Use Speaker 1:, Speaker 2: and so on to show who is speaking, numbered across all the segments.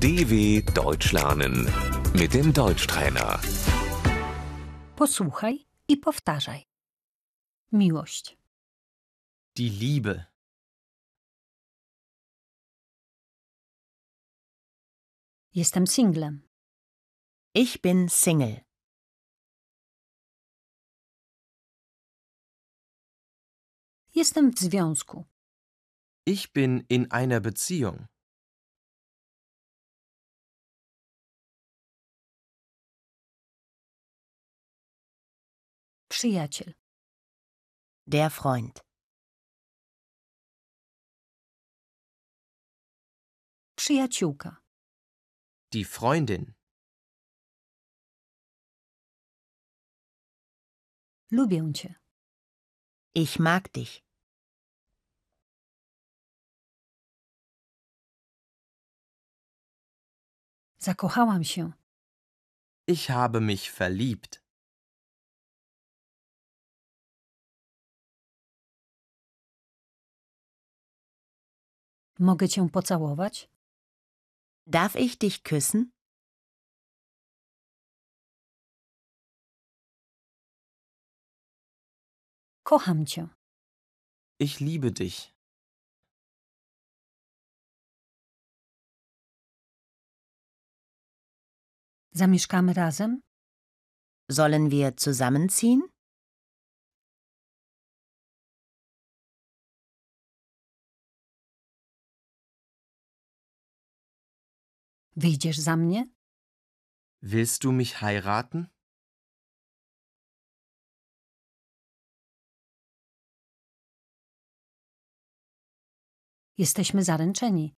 Speaker 1: DW Deutsch lernen mit dem Deutschtrainer.
Speaker 2: Posłuchaj i powtarzaj. Miłość,
Speaker 3: Die Liebe,
Speaker 2: jestem singlem,
Speaker 4: Ich bin Single.
Speaker 2: jestem w związku,
Speaker 3: ich bin in einer Beziehung.
Speaker 2: przyjaciel,
Speaker 4: Der Freund.
Speaker 2: przyjaciółka,
Speaker 3: Die Freundin,
Speaker 2: lubię cię,
Speaker 4: Ich mag dich.
Speaker 2: zakochałam się,
Speaker 3: ich habe mich verliebt.
Speaker 2: mogę cię pocałować,
Speaker 4: Darf ich dich küssen?
Speaker 2: kocham cię,
Speaker 3: Ich liebe dich.
Speaker 2: zamieszkamy razem,
Speaker 4: Sollen wir zusammenziehen?
Speaker 2: wyjdziesz za mnie,
Speaker 3: Willst du mich heiraten?
Speaker 2: jesteśmy zaręczeni,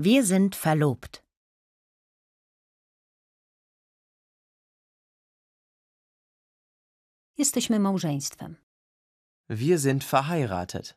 Speaker 4: Wir sind verlobt.
Speaker 2: jesteśmy małżeństwem,
Speaker 3: Wir sind verheiratet.